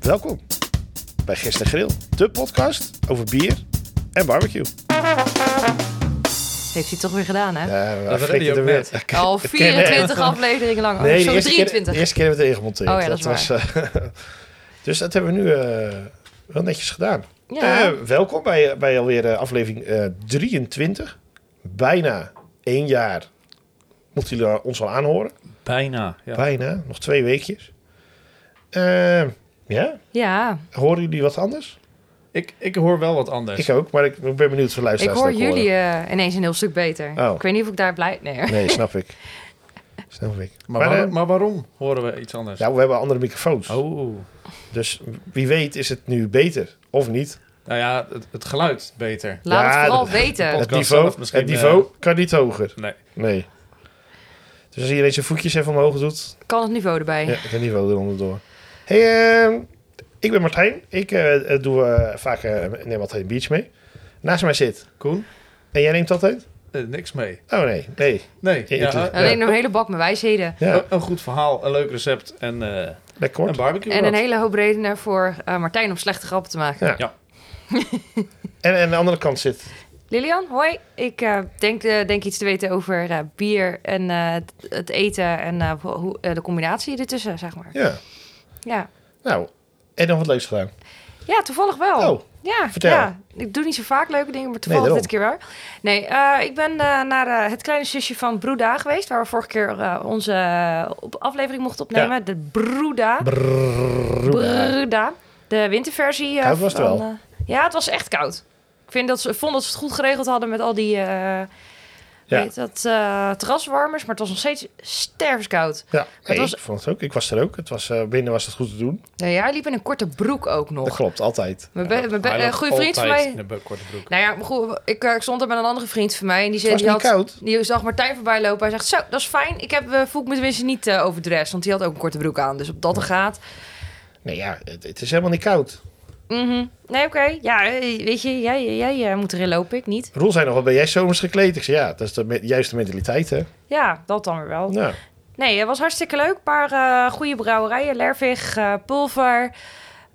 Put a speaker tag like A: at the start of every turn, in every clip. A: Welkom bij Gisteren Grill, de podcast over bier en barbecue.
B: Heeft hij het toch weer gedaan,
A: Ja,
B: hè?
C: Dat
A: flikkerde
C: redde je ook
A: weer.
C: net.
A: Ik-
B: Al
A: ik ken-
B: 24 afleveringen lang. Oh,
A: Nee, de
B: sorry,
A: eerste keer,
B: 23.
A: de eerste keer hebben we het ingemonteerd.
B: Oh ja, dat is
A: eh, dus dat hebben we nu eh, wel netjes gedaan.
B: Ja.
A: Eh, welkom bij, bij alweer eh, aflevering eh, 23. Bijna één jaar moeten jullie ons al aanhoren.
C: Bijna. Ja.
A: Bijna, nog twee weekjes. Eh, ja,
B: ja,
A: horen jullie wat anders?
C: Ik, ik hoor wel wat anders.
A: Ik ook, maar ik, ik ben benieuwd voor
B: ik
A: luisteraars.
B: hoor
A: dat horen.
B: jullie eh, ineens een heel stuk beter.
A: Oh.
B: Ik weet niet of ik daar blij... Nee, hoor.
A: Nee, snap ik. Snap ik.
C: maar,
A: Maar,
C: waarom,
A: eh,
C: maar waarom horen we iets anders?
A: Nou, we hebben andere microfoons.
C: Oh.
A: Dus wie weet is het nu beter of niet.
C: Nou ja, het, het geluid beter.
B: laat
A: Ja,
B: het vooral
A: dat-
B: weten.
C: dat-
A: Het
C: podcast
A: niveau,
C: zelf misschien, eh,
A: het niveau kan niet hoger.
C: Nee.
A: Nee. Dus als je ineens zijn voetjes even omhoog doet,
B: Kan het niveau erbij.
A: ja, het niveau eronder door. hey, ehm, ik ben Martijn. Ik eh, eh, doe eh, vaak, eh, neem altijd een biertje mee. Naast mij zit.
C: Koen?
A: En jij neemt altijd?
C: Eh, niks mee.
A: Oh nee, nee.
C: Nee.
A: Ja,
C: Ja,
A: het-
C: eh,
B: Alleen een hele bak met wijsheden.
A: Ja,
C: Een, een goed verhaal, een leuk recept en eh,
A: lekker
C: Oh.
A: kort.
C: een barbecue.
B: En een
C: wat.
B: hele hoop redenen voor eh, Martijn om slechte grappen te maken.
A: Ja.
C: Ja.
A: En, en aan de andere kant zit.
B: Lilian, hoi. Ik eh, denk, eh, denk iets te weten over eh, bier en eh, het- het eten en eh, ho- hoe, eh, de combinatie ertussen, zeg maar.
A: Ja.
B: Ja,
A: Nou, en nog wat leuks gedaan.
B: ja toevallig wel.
A: Oh,
B: Ja,
A: Vertel.
B: ja, ik doe niet zo vaak leuke dingen, maar toevallig
A: daarom.
B: dit keer wel. Nee, eh, ik ben eh, naar eh, het kleine zusje van Broeda geweest, waar we vorige keer eh, onze eh, op aflevering mochten opnemen. De Broeda. Broeda. De winterversie. eh,
A: Koud was het
B: van,
A: wel.
B: eh, ja, het was echt koud. Ik vind dat ze, vond dat ze het goed geregeld hadden met al die eh
A: Ja.
B: weet dat, eh, terraswarmers, maar het was nog steeds stervenskoud.
A: Ja, nee,
B: was-
A: ik vond het ook. Ik was er ook. Het was, eh, binnen was het goed te doen.
B: Nou, jij liep in een korte broek ook
A: Dat
B: nog.
A: klopt, altijd.
B: Mijn be- mijn be-
C: Hij
B: eh,
C: loopt
B: goede vriend van
C: altijd
B: mij.
C: in een korte broek.
B: Nou ja, maar goed, ik, eh, ik stond er met een andere vriend van mij en die
A: Het
B: zei
A: was
B: die
A: niet
B: had,
A: koud.
B: die zag Martijn voorbij lopen. Hij zegt: "Zo, dat is fijn. Ik heb eh, voel ik me tenminste niet eh overdressed, want die had ook een korte broek aan. Dus op dat gaat.
A: Nee, ja, het, het is helemaal niet koud.
B: Mhm. Nee, oké. Ja, eh, weet je, jij, jij eh, moet erin lopen, ik niet.
A: Roel zei nog, wat ben jij zomers gekleed? Ik zei, ja, dat is de me- juiste mentaliteit, hè?
B: Ja, dat dan weer wel.
A: Nou,
B: Nee, het was hartstikke leuk. Een paar eh, goede brouwerijen. Lervig, eh, Pulver.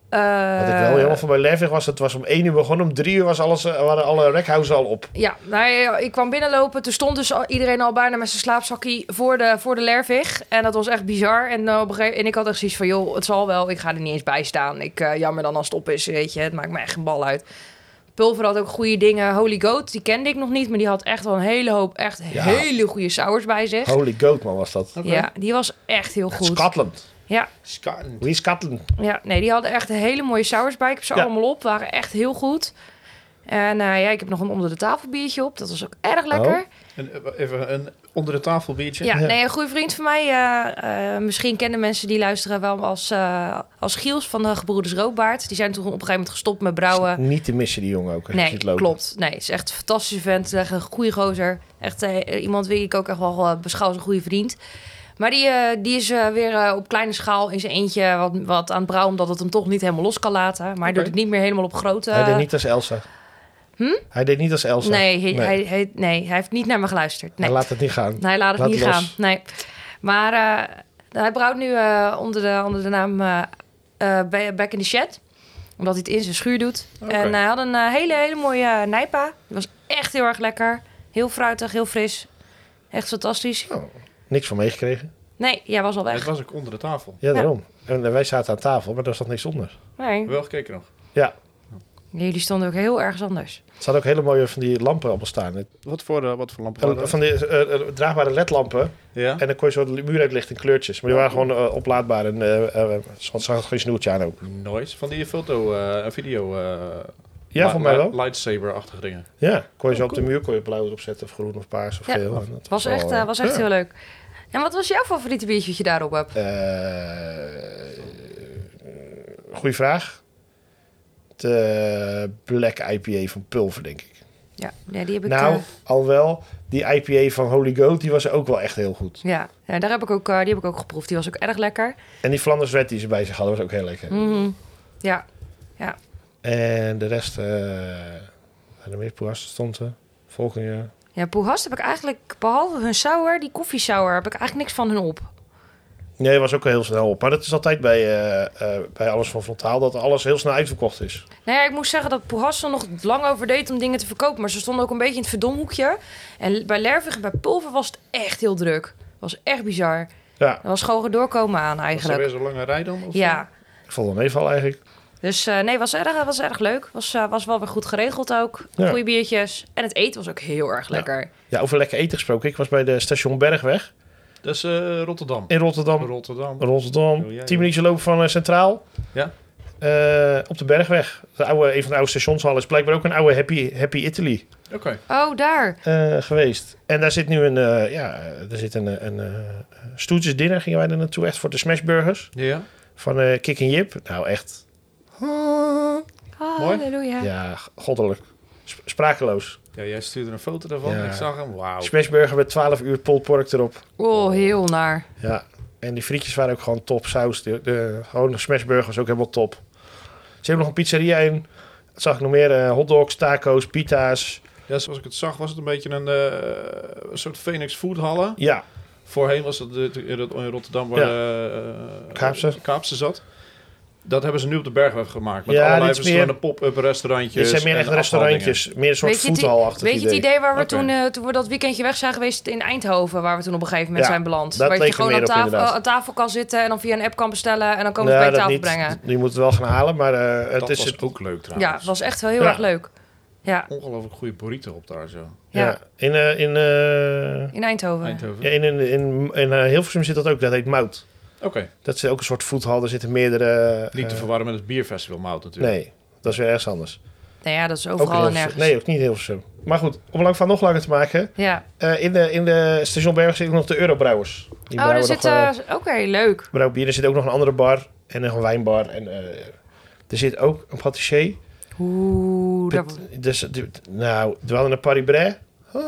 B: eh,
A: wat ik wel helemaal van bij Lervig was, het was om één uur begonnen. Om drie uur was alles, eh, waren alle rekhuizen al op.
B: Ja, nou, ja, ik kwam binnenlopen. Toen stond dus al- iedereen al bijna met zijn slaapzakkie voor de, voor de lervig. En dat was echt bizar. En, eh, op een gegeven, en ik had echt zoiets van, joh, het zal wel. Ik ga er niet eens bij staan. Ik, eh, jammer dan als het op is, weet je. Het maakt me echt een bal uit. Pulver had ook goede dingen. Holy Goat, die kende ik nog niet. Maar die had echt wel een hele hoop, echt
A: Ja.
B: hele goede sours bij zich.
A: Holy goat, man, was dat.
C: Oké.
B: Ja, die was echt heel goed.
A: Scotland.
B: Ja,
C: Scotland.
A: Wie is Scotland?
B: ja, nee, die hadden echt hele mooie sours bij. Ik heb ze
A: Ja.
B: allemaal op, waren echt heel goed. En eh, ja, ik heb nog een onder de tafel biertje op. Dat was ook erg lekker.
A: Oh.
C: Een- eh, even een onder de tafel biertje.
B: Ja,
A: Ja.
B: nee, een goede vriend van mij. eh, eh, misschien kennen mensen die luisteren wel als, eh, als Giels van de Gebroeders Roodbaard. Die zijn toen op een gegeven moment gestopt met brouwen.
A: Niet te missen, die jongen ook. als je
B: Nou, eh, Nee,
A: ziet lopen.
B: klopt. Nee, het is echt een fantastische vent. Echt een goede gozer. Echt eh, iemand die ik ook echt wel eh, beschouw als een goede vriend. Maar die, eh, die is eh, weer eh, op kleine schaal in zijn eentje wat, wat aan het brouwen. Omdat het hem toch niet helemaal los kan laten. Maar hij
C: Oké.
B: doet het niet meer helemaal op grote...
A: Hij deed niet als Elsa. Hij deed niet als Elsa.
B: Eh, Hm? Nee, hij,
A: Nee.
B: Hij, hij- nee, hij heeft niet naar me geluisterd. Nee.
A: Hij laat het niet gaan.
B: Nee, laat het
A: Laat
B: niet
A: los.
B: gaan. Nee. Maar eh, hij brouwt nu eh, onder, de, onder de naam eh, eh, Ba- Back in the Shed. Omdat hij het in zijn schuur doet.
C: Oké.
B: En hij had een eh, hele, hele mooie eh, nijpa. Die was echt heel erg lekker. Heel fruitig, heel fris. Echt fantastisch.
A: Oh, niks van meegekregen.
B: Nee, jij was al
C: Het
B: weg.
C: was ook onder de tafel.
A: Ja, daarom. En eh, wij zaten aan tafel, maar daar zat niks onder.
B: Nee.
C: Wel gekeken nog.
A: Ja,
B: Jullie stonden ook heel ergens anders.
A: er hadden ook hele mooie van die lampen allemaal staan.
C: Wat voor, eh, wat voor lamp
A: Van, van die eh, eh, draagbare ledlampen.
C: Ja?
A: En dan kon je zo de muuruitlicht in kleurtjes. Maar die waren gewoon eh, oplaadbaar. En eh eh ze had geen snoertje aan ook.
C: Noise. Van die foto, eh, video... eh,
A: Ja,
C: li-
A: voor mij
C: li-
A: wel.
C: Lightsaber-achtige dingen.
A: Ja, kon je zo
C: Oh,
A: op de muur kon je blauw opzetten. Of groen of paars of
B: Ja,
A: geel. En dat
B: Het was
A: wel,
B: echt,
A: eh,
B: eh, was echt
A: ja.
B: heel leuk. En wat was jouw favoriete biertje dat je daarop hebt?
A: Eh, goeie vraag. De Black IPA van Pulver, denk ik.
B: Ja, ja die heb ik...
A: Nou,
B: eh,
A: al wel. Die IPA van Holy Goat, die was ook wel echt heel goed.
B: ja, ja, daar heb ik ook, eh, die heb ik ook geproefd. Die was ook erg lekker.
A: En die Flanders Red die ze bij zich hadden, was ook heel lekker.
B: Mhm. Ja,
A: En de rest, eh de meerpoeras stond er. Volgende
B: Ja, Poehast heb ik eigenlijk, behalve hun sour, die koffiesauer, heb ik eigenlijk niks van hun op.
A: Nee, was ook al heel snel op. Maar dat is altijd bij, eh, eh, bij alles van Frontaal, dat alles heel snel uitverkocht is.
B: Nou ja, ik moest zeggen dat Poehassel nog lang over deed om dingen te verkopen. Maar ze stonden ook een beetje in het verdomhoekje. En bij Lervig en bij Pulver was het echt heel druk. was echt bizar.
A: Ja,
B: Dat was gewoon doorkomen aan
C: Was er weer
B: eigenlijk.
C: zo'n lange rij dan? Of
B: Ja,
A: ik vond wel meeval eigenlijk.
B: dus eh, nee, was erg, was erg leuk. Was, eh, was wel weer goed geregeld ook.
A: Ja.
B: Goeie biertjes. En het eten was ook heel erg lekker.
A: Ja, over lekker eten gesproken. Ik was bij de station Bergweg
C: zo? Dat is eh, Rotterdam.
A: in Rotterdam.
C: Rotterdam. Wil
A: Rotterdam,
C: jij
A: 10
C: ook?
A: minuten lopen van eh, Centraal.
C: Ja.
A: Eh, op de Bergweg. De oude, een van de oude stationshallen is blijkbaar ook een oude Happy, Happy Italy.
C: Oké.
B: Oh, daar.
A: eh, geweest. En daar zit nu een, eh, ja, er zit een, eh, een eh, stoeltjesdinner, gingen wij er naartoe, echt voor de smashburgers
C: Ja.
A: van eh Kik en Jip. Nou, echt,
C: Mooi.
B: Halleluja.
A: ja, goddelijk. Sp- sprakeloos.
C: Ja, jij stuurde een foto daarvan.
A: Ja.
C: Ik zag hem. Wauw.
A: Smashburger met 12 uur pulled pork erop.
B: Oh, heel naar.
A: Ja, en die frietjes waren ook gewoon top. Saus, de, de, gewoon de smashburger was ook helemaal top. Ze hebben nog een pizzeria in. Dat zag ik nog meer. eh, hotdogs, taco's, pita's.
C: Ja, zoals ik het zag was het een beetje een, eh, een soort Phoenix Food Hallen.
A: Ja,
C: Voorheen was dat de- in Rot- in Rotterdam waar
A: Ja.
C: eh,
A: Kaapse.
C: Kaapse zat. Dat hebben ze nu op de Bergweg gemaakt. Met
A: Ja,
C: allerlei
A: dit is meer-
C: verschillende pop-up restaurantjes.
A: dit zijn meer
C: en
A: echt
C: afhaldingen.
A: restaurantjes. Meer een soort
B: Weet je het i-
A: voetbalachtig
B: Weet je het
A: idee.
B: idee waar we
C: Oké.
B: toen, eh, toen we dat weekendje weg zijn geweest in Eindhoven, waar we toen op een gegeven moment
A: Ja,
B: zijn beland?
A: dat
B: Waar je
A: leek er
B: gewoon
A: meer
B: aan
A: op,
B: tafel,
A: inderdaad.
B: aan tafel kan zitten en dan via een app kan bestellen en dan komen
A: Nou,
B: ze bij je
A: dat
B: tafel
A: niet.
B: brengen.
A: Je moet het wel gaan halen, maar eh, het
C: Dat
A: is
C: was
A: het
C: ook leuk trouwens.
B: Ja, het was echt wel heel
A: Ja.
B: erg leuk. Ja,
C: Ongelooflijk goede burrito op daar zo.
A: Ja.
B: Ja.
A: In, eh, in, eh,
B: in Eindhoven.
C: Eindhoven.
A: ja, in, in, in, in eh, Hilversum zit dat ook, dat heet Mout.
C: Oké.
A: Dat is ook een soort voethal, daar zitten meerdere... eh,
C: Niet te verwarren met het bierfestival Mout natuurlijk.
A: Nee, dat is weer ergens anders.
B: Nou ja, dat is
A: Ook in
B: overal en
A: Hilversum.
B: nergens.
A: Nee, ook niet in Hilversum. Maar goed, om lang van nog langer te maken.
B: Ja.
A: eh, in, de, in de Station Berg zitten nog de Eurobrouwers. Die
B: Oh,
A: brouwen
B: daar
A: nog,
B: zit...
A: eh,
B: eh, Oké, leuk.
A: brouwen bier. Er zit ook nog een andere bar en nog een wijnbar. En, eh, er zit ook een patissier.
B: Oeh, daar...
A: Dus, die- nou, we hadden een Paris-Bray. Ah,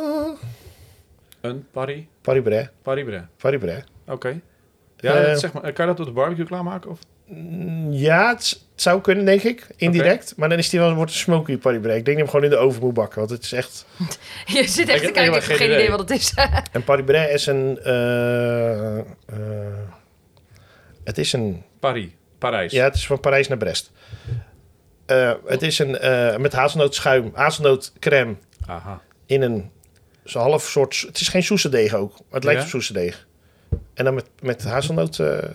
C: Een Paris.
A: Paris-Bray.
C: Paribre.
A: Paris-Bray.
C: Oké. Ja,
A: Eh,
C: dat zeg maar, kan je dat op de barbecue klaarmaken? Of?
A: Mm, Ja, het s- het zou kunnen, denk ik. Indirect. Maar dan is die wel, wordt een smoky party break. Ik denk dat je hem gewoon in de oven moet bakken. Want het is echt...
B: Je zit
C: heb
B: echt te
C: helemaal
B: kijken, ik heb
C: geen
B: geen
C: idee.
B: idee wat het is.
A: Een party break is een... eh, eh, het is een...
C: Paris. Parijs.
A: Ja, het is van Parijs naar Brest. Eh, het is een... eh, met hazelnootschuim, hazelnootcrème
C: Aha.
A: in een... Zo'n half soort... s- Het is geen soesedeeg ook. maar het lijkt
C: Ja?
A: op soesedeeg. En dan met, met hazelnootschuim.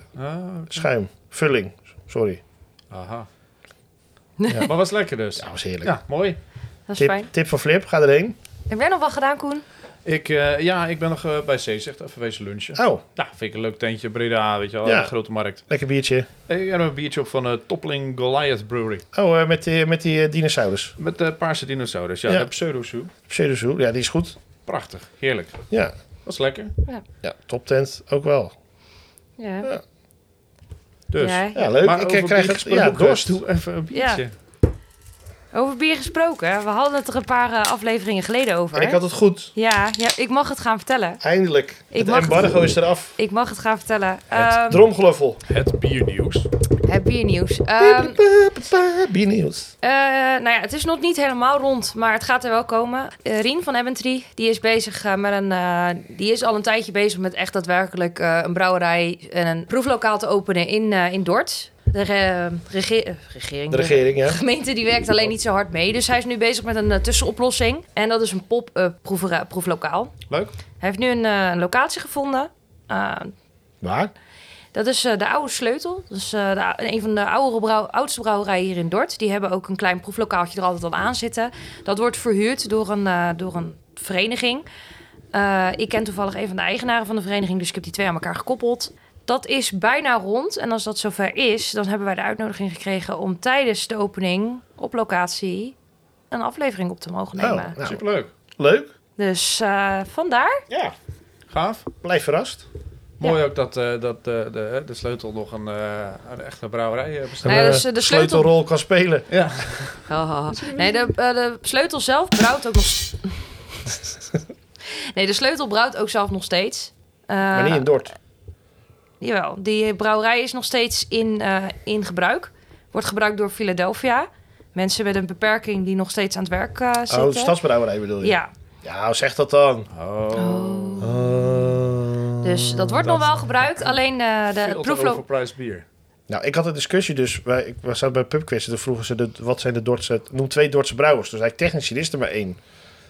C: Ah, oké.
A: Vulling. Sorry.
C: Aha. Ja, maar was lekker dus.
A: Ja, was heerlijk.
C: Ja, mooi.
B: Dat is
A: Tip,
B: fijn.
A: tip van Flip, ga erheen.
B: Heb jij nog wat gedaan, Koen?
C: Ik, eh, ja, ik ben nog eh, bij C, zegt even wezen lunchen.
A: Oh,
C: Nou, vind ik een leuk tentje, Breda, weet je wel,
A: Ja.
C: een grote markt.
A: lekker biertje.
C: Eh, Ik heb een biertje op van eh, Toppling Goliath Brewery.
A: Oh, eh, met die, met die eh, dinosaurus.
C: Met eh, paarse dinosaurus, ja,
A: Ja.
C: de pseudozoe.
A: Pseudozoe, ja, die is goed.
C: Prachtig, heerlijk.
A: Ja,
C: Was lekker.
A: ja toptent ook wel.
B: Ja.
C: Dus.
B: Jij?
A: Ja, leuk.
C: Maar
A: ik
C: over
A: eh, krijg
C: bier
A: het ja,
C: gesproken,
A: dorst.
C: Doe even een biertje.
B: Over bier gesproken. hè? We hadden het er een paar eh, afleveringen geleden over.
A: En ik had het goed.
B: ja, ja, ik mag het gaan vertellen.
A: Eindelijk.
B: Ik
A: het
B: mag het
A: embargo is eraf.
B: Ik mag het gaan vertellen. Ehm,
A: Het dromgeloffel.
C: Het biernieuws.
B: het biernieuws. Ehm,
A: Biernieuws.
B: Eh, nou ja, het is nog niet helemaal rond, maar het gaat er wel komen. Eh, Rien van Eventry, die is bezig eh, met een. eh, die is al een tijdje bezig met echt daadwerkelijk eh, een brouwerij en een proeflokaal te openen in, eh, in Dordt. De re- rege- eh, regering.
A: De regering, ja.
B: gemeente die werkt alleen niet zo hard mee. Dus hij is nu bezig met een eh, tussenoplossing. En dat is een pop-up proevera- proeflokaal.
C: Leuk.
B: Hij heeft nu een eh, een locatie gevonden. Eh,
A: Waar?
B: dat is eh, de Oude Sleutel. Dat is eh, de ou- een van de oude brouw- oudste brouwerijen hier in Dordt. Die hebben ook een klein proeflokaaltje er altijd al aan zitten. Dat wordt verhuurd door een, eh, door een vereniging. Eh, ik ken toevallig een van de eigenaren van de vereniging, dus ik heb die twee aan elkaar gekoppeld. Dat is bijna rond. En als dat zover is, dan hebben wij de uitnodiging gekregen om tijdens de opening op locatie een aflevering op te mogen
A: Oh,
B: nemen.
A: nou,
C: Superleuk.
A: leuk.
B: Dus eh, vandaar.
A: Ja.
C: Gaaf.
A: Blijf verrast.
C: Mooi ook dat, eh, dat eh, de, de sleutel nog een, eh, een echte brouwerij eh, bestaat.
B: Nou ja,
A: Een,
B: dus,
A: eh,
B: eh, de sleutel-
A: sleutelrol kan spelen.
C: Ja.
B: Oh. Nee, de, eh, de sleutel zelf brouwt ook nog. s- nee, de sleutel brouwt ook zelf nog steeds. Eh,
A: Maar niet in Dort.
B: Jawel, die brouwerij is nog steeds in, eh, in gebruik. Wordt gebruikt door Philadelphia. Mensen met een beperking die nog steeds aan het werk eh, zitten.
A: Oh, de stadsbrouwerij bedoel je?
B: Ja.
A: Ja, zeg dat dan.
C: Oh.
B: Oh.
A: Oh.
B: Dus dat wordt nog wel gebruikt. Alleen eh, de
C: Veel te
B: proefloop...
C: overpriced bier.
A: Nou, ik had een discussie dus. Wij, ik was bij pubquiz en toen vroegen ze... De, wat zijn de Dordtse... Noem twee Dordtse brouwers. Toen zei ik, technisch er is er maar één.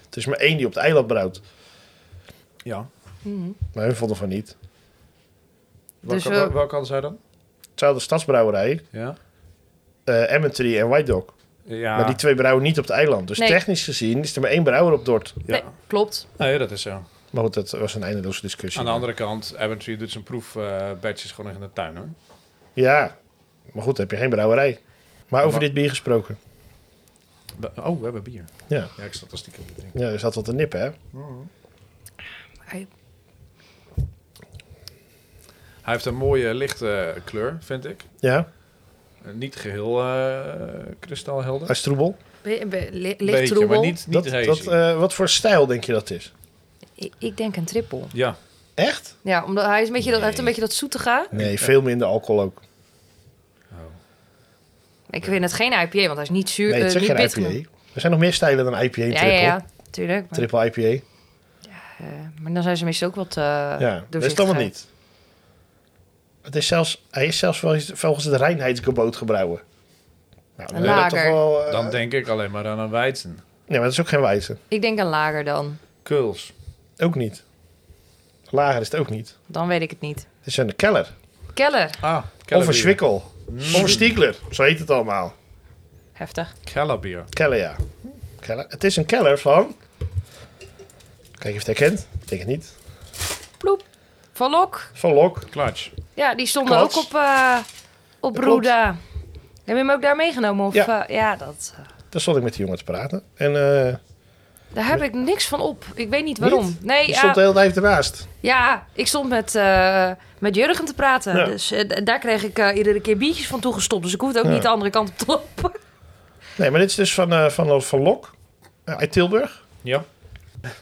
A: Het is maar één die op het eiland brouwt.
C: Ja.
B: Mhm.
A: Maar hun vonden van niet.
B: Dus
C: Welke,
B: we-
C: wel- welke hadden zij dan?
A: Hetzelfde Stadsbrouwerij,
C: Ja.
A: eh Emmentry en White Dog.
C: Ja.
A: Maar die twee brouwen niet op het eiland. Dus
B: Nee.
A: technisch gezien is er maar één brouwer op Dort.
B: Nee,
C: ja.
B: klopt.
C: Nee, dat is zo.
A: Maar goed, dat was een eindeloze discussie.
C: Aan de andere kant, Abentry doet zijn proefbatches gewoon in de tuin hoor.
A: Ja, maar goed, dan heb je geen brouwerij. Maar over
C: Maar-
A: dit bier gesproken.
C: We- Oh, we hebben bier.
A: Ja.
C: Ja, ik zat er stiekem te drinken.
A: Ja, er zat wat te nippen, hè?
C: Hij heeft een mooie lichte kleur, vind ik.
A: Ja,
C: Eh, Niet geheel eh, kristalhelder.
A: hij is troebel.
B: Be- be- li- Licht
C: Beetje, maar
B: troebel.
C: niet, niet
A: Dat,
C: hazy.
A: dat, eh, wat voor stijl denk je dat is?
B: Ik, ik denk een trippel.
C: Ja,
A: Echt?
B: Ja, omdat hij, is een beetje, dat- hij heeft een
A: Nee.
B: beetje dat zoetige.
A: Nee, veel minder alcohol ook.
B: Ik vind het geen IPA, want hij is niet zuur.
A: Nee, het
B: eh,
A: is
B: niet
A: geen
B: pit genoeg.
A: IPA. Er zijn nog meer stijlen dan IPA en
B: Ja, ja,
A: triple.
B: ja, tuurlijk. Maar,
A: Triple E. IPA.
B: eh, maar dan zijn ze meestal ook wat. eh
A: Ja, dat is het
B: doorzichtiger.
A: allemaal niet. Het is zelfs, hij is zelfs wel eens volgens het reinheidsgebod gebrouwen. Nou, dan
B: Een
A: wil je
B: lager.
A: wel, eh,
C: dan denk ik alleen maar aan een Weizen.
A: Nee, maar dat is ook geen wijze.
B: Ik denk een lager dan.
C: Kuls.
A: Ook niet. Lager is het ook niet.
B: Dan weet ik het niet.
A: Het is een keller.
B: Keller.
C: Ah,
A: Of een swikkel.
C: Mm.
A: Of een stiegler. Zo heet het allemaal.
B: Heftig.
C: Kellabier.
A: Keller, ja. Keller. Het is een keller van... Kijk of je het herkent. Ik denk het niet.
B: Ploep. Van Lok.
A: Van Lok.
C: Klatsch.
B: Ja, die stonden
A: Klats.
B: ook op, eh op
A: Klopt.
B: Roeda. Heb je hem ook daar meegenomen? Of,
A: Ja.
B: ja. ja, dat. eh,
A: Daar stond ik met die jongen te praten. En eh,
B: daar heb ik niks van op. Ik weet niet waarom. Nee,
A: die
B: ja,
A: stond de hele tijd ernaast.
B: ja, ik stond met, eh, met Jurgen te praten.
A: Ja.
B: Dus eh, d- daar kreeg ik eh, iedere keer biertjes van toegestopt. Dus ik hoefde ook
A: Ja.
B: niet de andere kant op te lopen.
A: Nee, maar dit is dus van, eh, van, van Lok. eh, uit Tilburg.
C: Ja.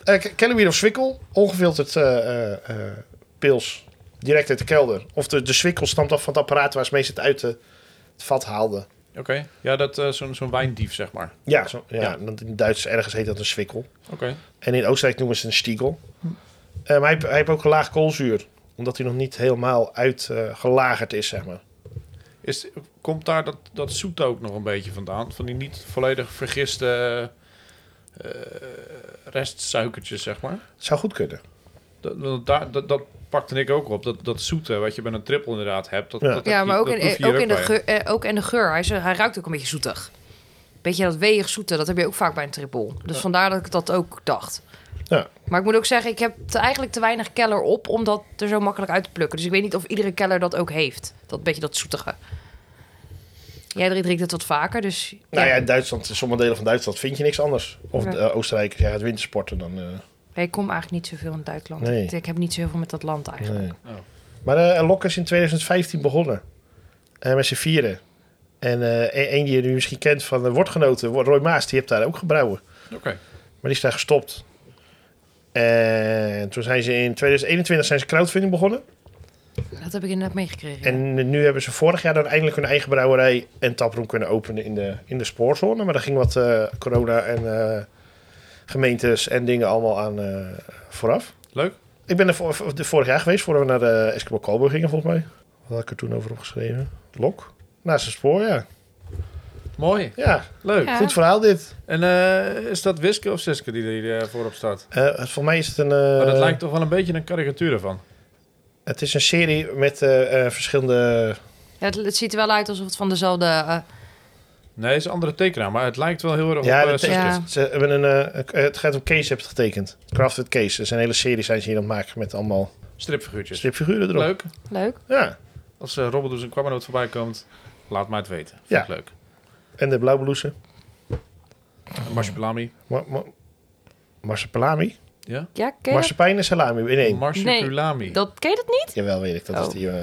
A: Eh, Ke- Kellerbier of Swikkel, ongefilterd eh eh, eh, pils, direct uit de kelder. Of de, de Swikkel stamt af van het apparaat waar ze mee zit uit de, het vat haalden.
C: Oké. Ja, dat eh, zo'n zo'n wijndief, zeg maar.
A: Ja, zo, ja,
C: Ja.
A: want in het Duits ergens heet dat een Swikkel.
C: Oké.
A: En in Oostenrijk noemen ze het een Stiegel. Eh, maar hij, hij heeft ook een laag koolzuur, omdat hij nog niet helemaal uitgelagerd is, zeg maar.
C: Is, komt daar dat, dat zoet ook nog een beetje vandaan? Van die niet volledig vergiste eh, restsuikertjes, zeg maar?
A: Het zou goed kunnen.
C: Dat, want daar, dat, dat pakte ik ook op. Dat, dat zoete wat je bij een triple inderdaad hebt. Dat,
A: Ja.
C: dat heb
B: Ja,
C: je-
B: maar ook
C: dat
B: in,
C: proef je
B: eh,
C: hier
B: ook, in de
C: bij.
B: geur, eh, ook in de geur. Hij, is, eh, hij ruikt ook een beetje zoetig. Beetje dat weeg zoete, dat heb je ook vaak bij een triple. Dus vandaar dat ik dat ook dacht.
A: Ja.
B: Maar ik moet ook zeggen, ik heb te- eigenlijk te weinig keller op om dat er zo makkelijk uit te plukken. Dus ik weet niet of iedere keller dat ook heeft. Dat beetje dat zoetige. Jij drinkt het wat vaker, dus...
A: Nou ja,
B: ja.
A: in Duitsland, in sommige delen van Duitsland vind je niks anders. Of
B: Ja.
A: eh, Oostenrijkers, ja, het wintersporten dan... eh,
B: Ik kom eigenlijk niet zoveel in Duitsland.
A: Nee.
B: Ik, ik heb niet zoveel met dat land eigenlijk.
A: Nee.
C: Oh.
A: Maar eh Lok is in 2015 begonnen. Eh, met z'n vieren. En eh een die je nu misschien kent van de Wordgenoten, Wo- Roy Maas, die heeft daar ook gebrouwen.
C: Oké.
A: Maar die is daar gestopt. En toen zijn ze in 2021 zijn ze crowdfunding begonnen.
B: Dat heb ik inderdaad meegekregen. ja.
A: En nu hebben ze vorig jaar dan eindelijk hun eigen brouwerij en taproom kunnen openen in de, in de spoorzone. Maar daar ging wat eh, corona en eh, gemeentes en dingen allemaal aan eh, vooraf.
C: Leuk.
A: Ik ben er vor- vor- de vorig jaar geweest, voordat we naar de Eskimo Calbo gingen, volgens mij. Wat had ik er toen over opgeschreven? Lok? Naast het spoor, ja.
C: Mooi.
A: Ja,
C: Leuk.
B: Ja.
A: goed verhaal dit.
C: En eh, is dat Wiske of Siske die er voorop staat?
A: Eh voor mij is het een...
C: Maar
A: eh,
C: Oh, dat lijkt toch wel een beetje een karikatuur ervan.
A: Het is een serie met eh, eh, verschillende...
B: Ja, het, het ziet er wel uit alsof het van dezelfde... eh,
C: Nee, het is een andere tekenaar, maar het lijkt wel heel erg
A: Ja,
C: op eh,
A: dat-
C: Siske.
B: Ja.
A: Ze hebben een, eh, eh, het gaat om Case hebt getekend. Crafted Case. Dus een hele serie zijn ze hier aan het maken met allemaal
C: Stripfiguurtjes.
A: stripfiguren erop.
C: Leuk.
B: leuk.
A: Ja.
C: Als eh Robert dus een kwammernoot voorbij komt, laat mij het weten. Vind
A: Ja.
C: ik leuk.
A: En de blauwbloesen.
C: Marsupilami.
A: Ma ma Marsepelami?
C: Ja?
B: Ja, ken je
A: Marsepijn en salami in één.
C: Marsupilami.
B: dat? dat? Ken je dat niet?
A: Jawel, weet ik. Dat
B: Oh.
A: is die, eh,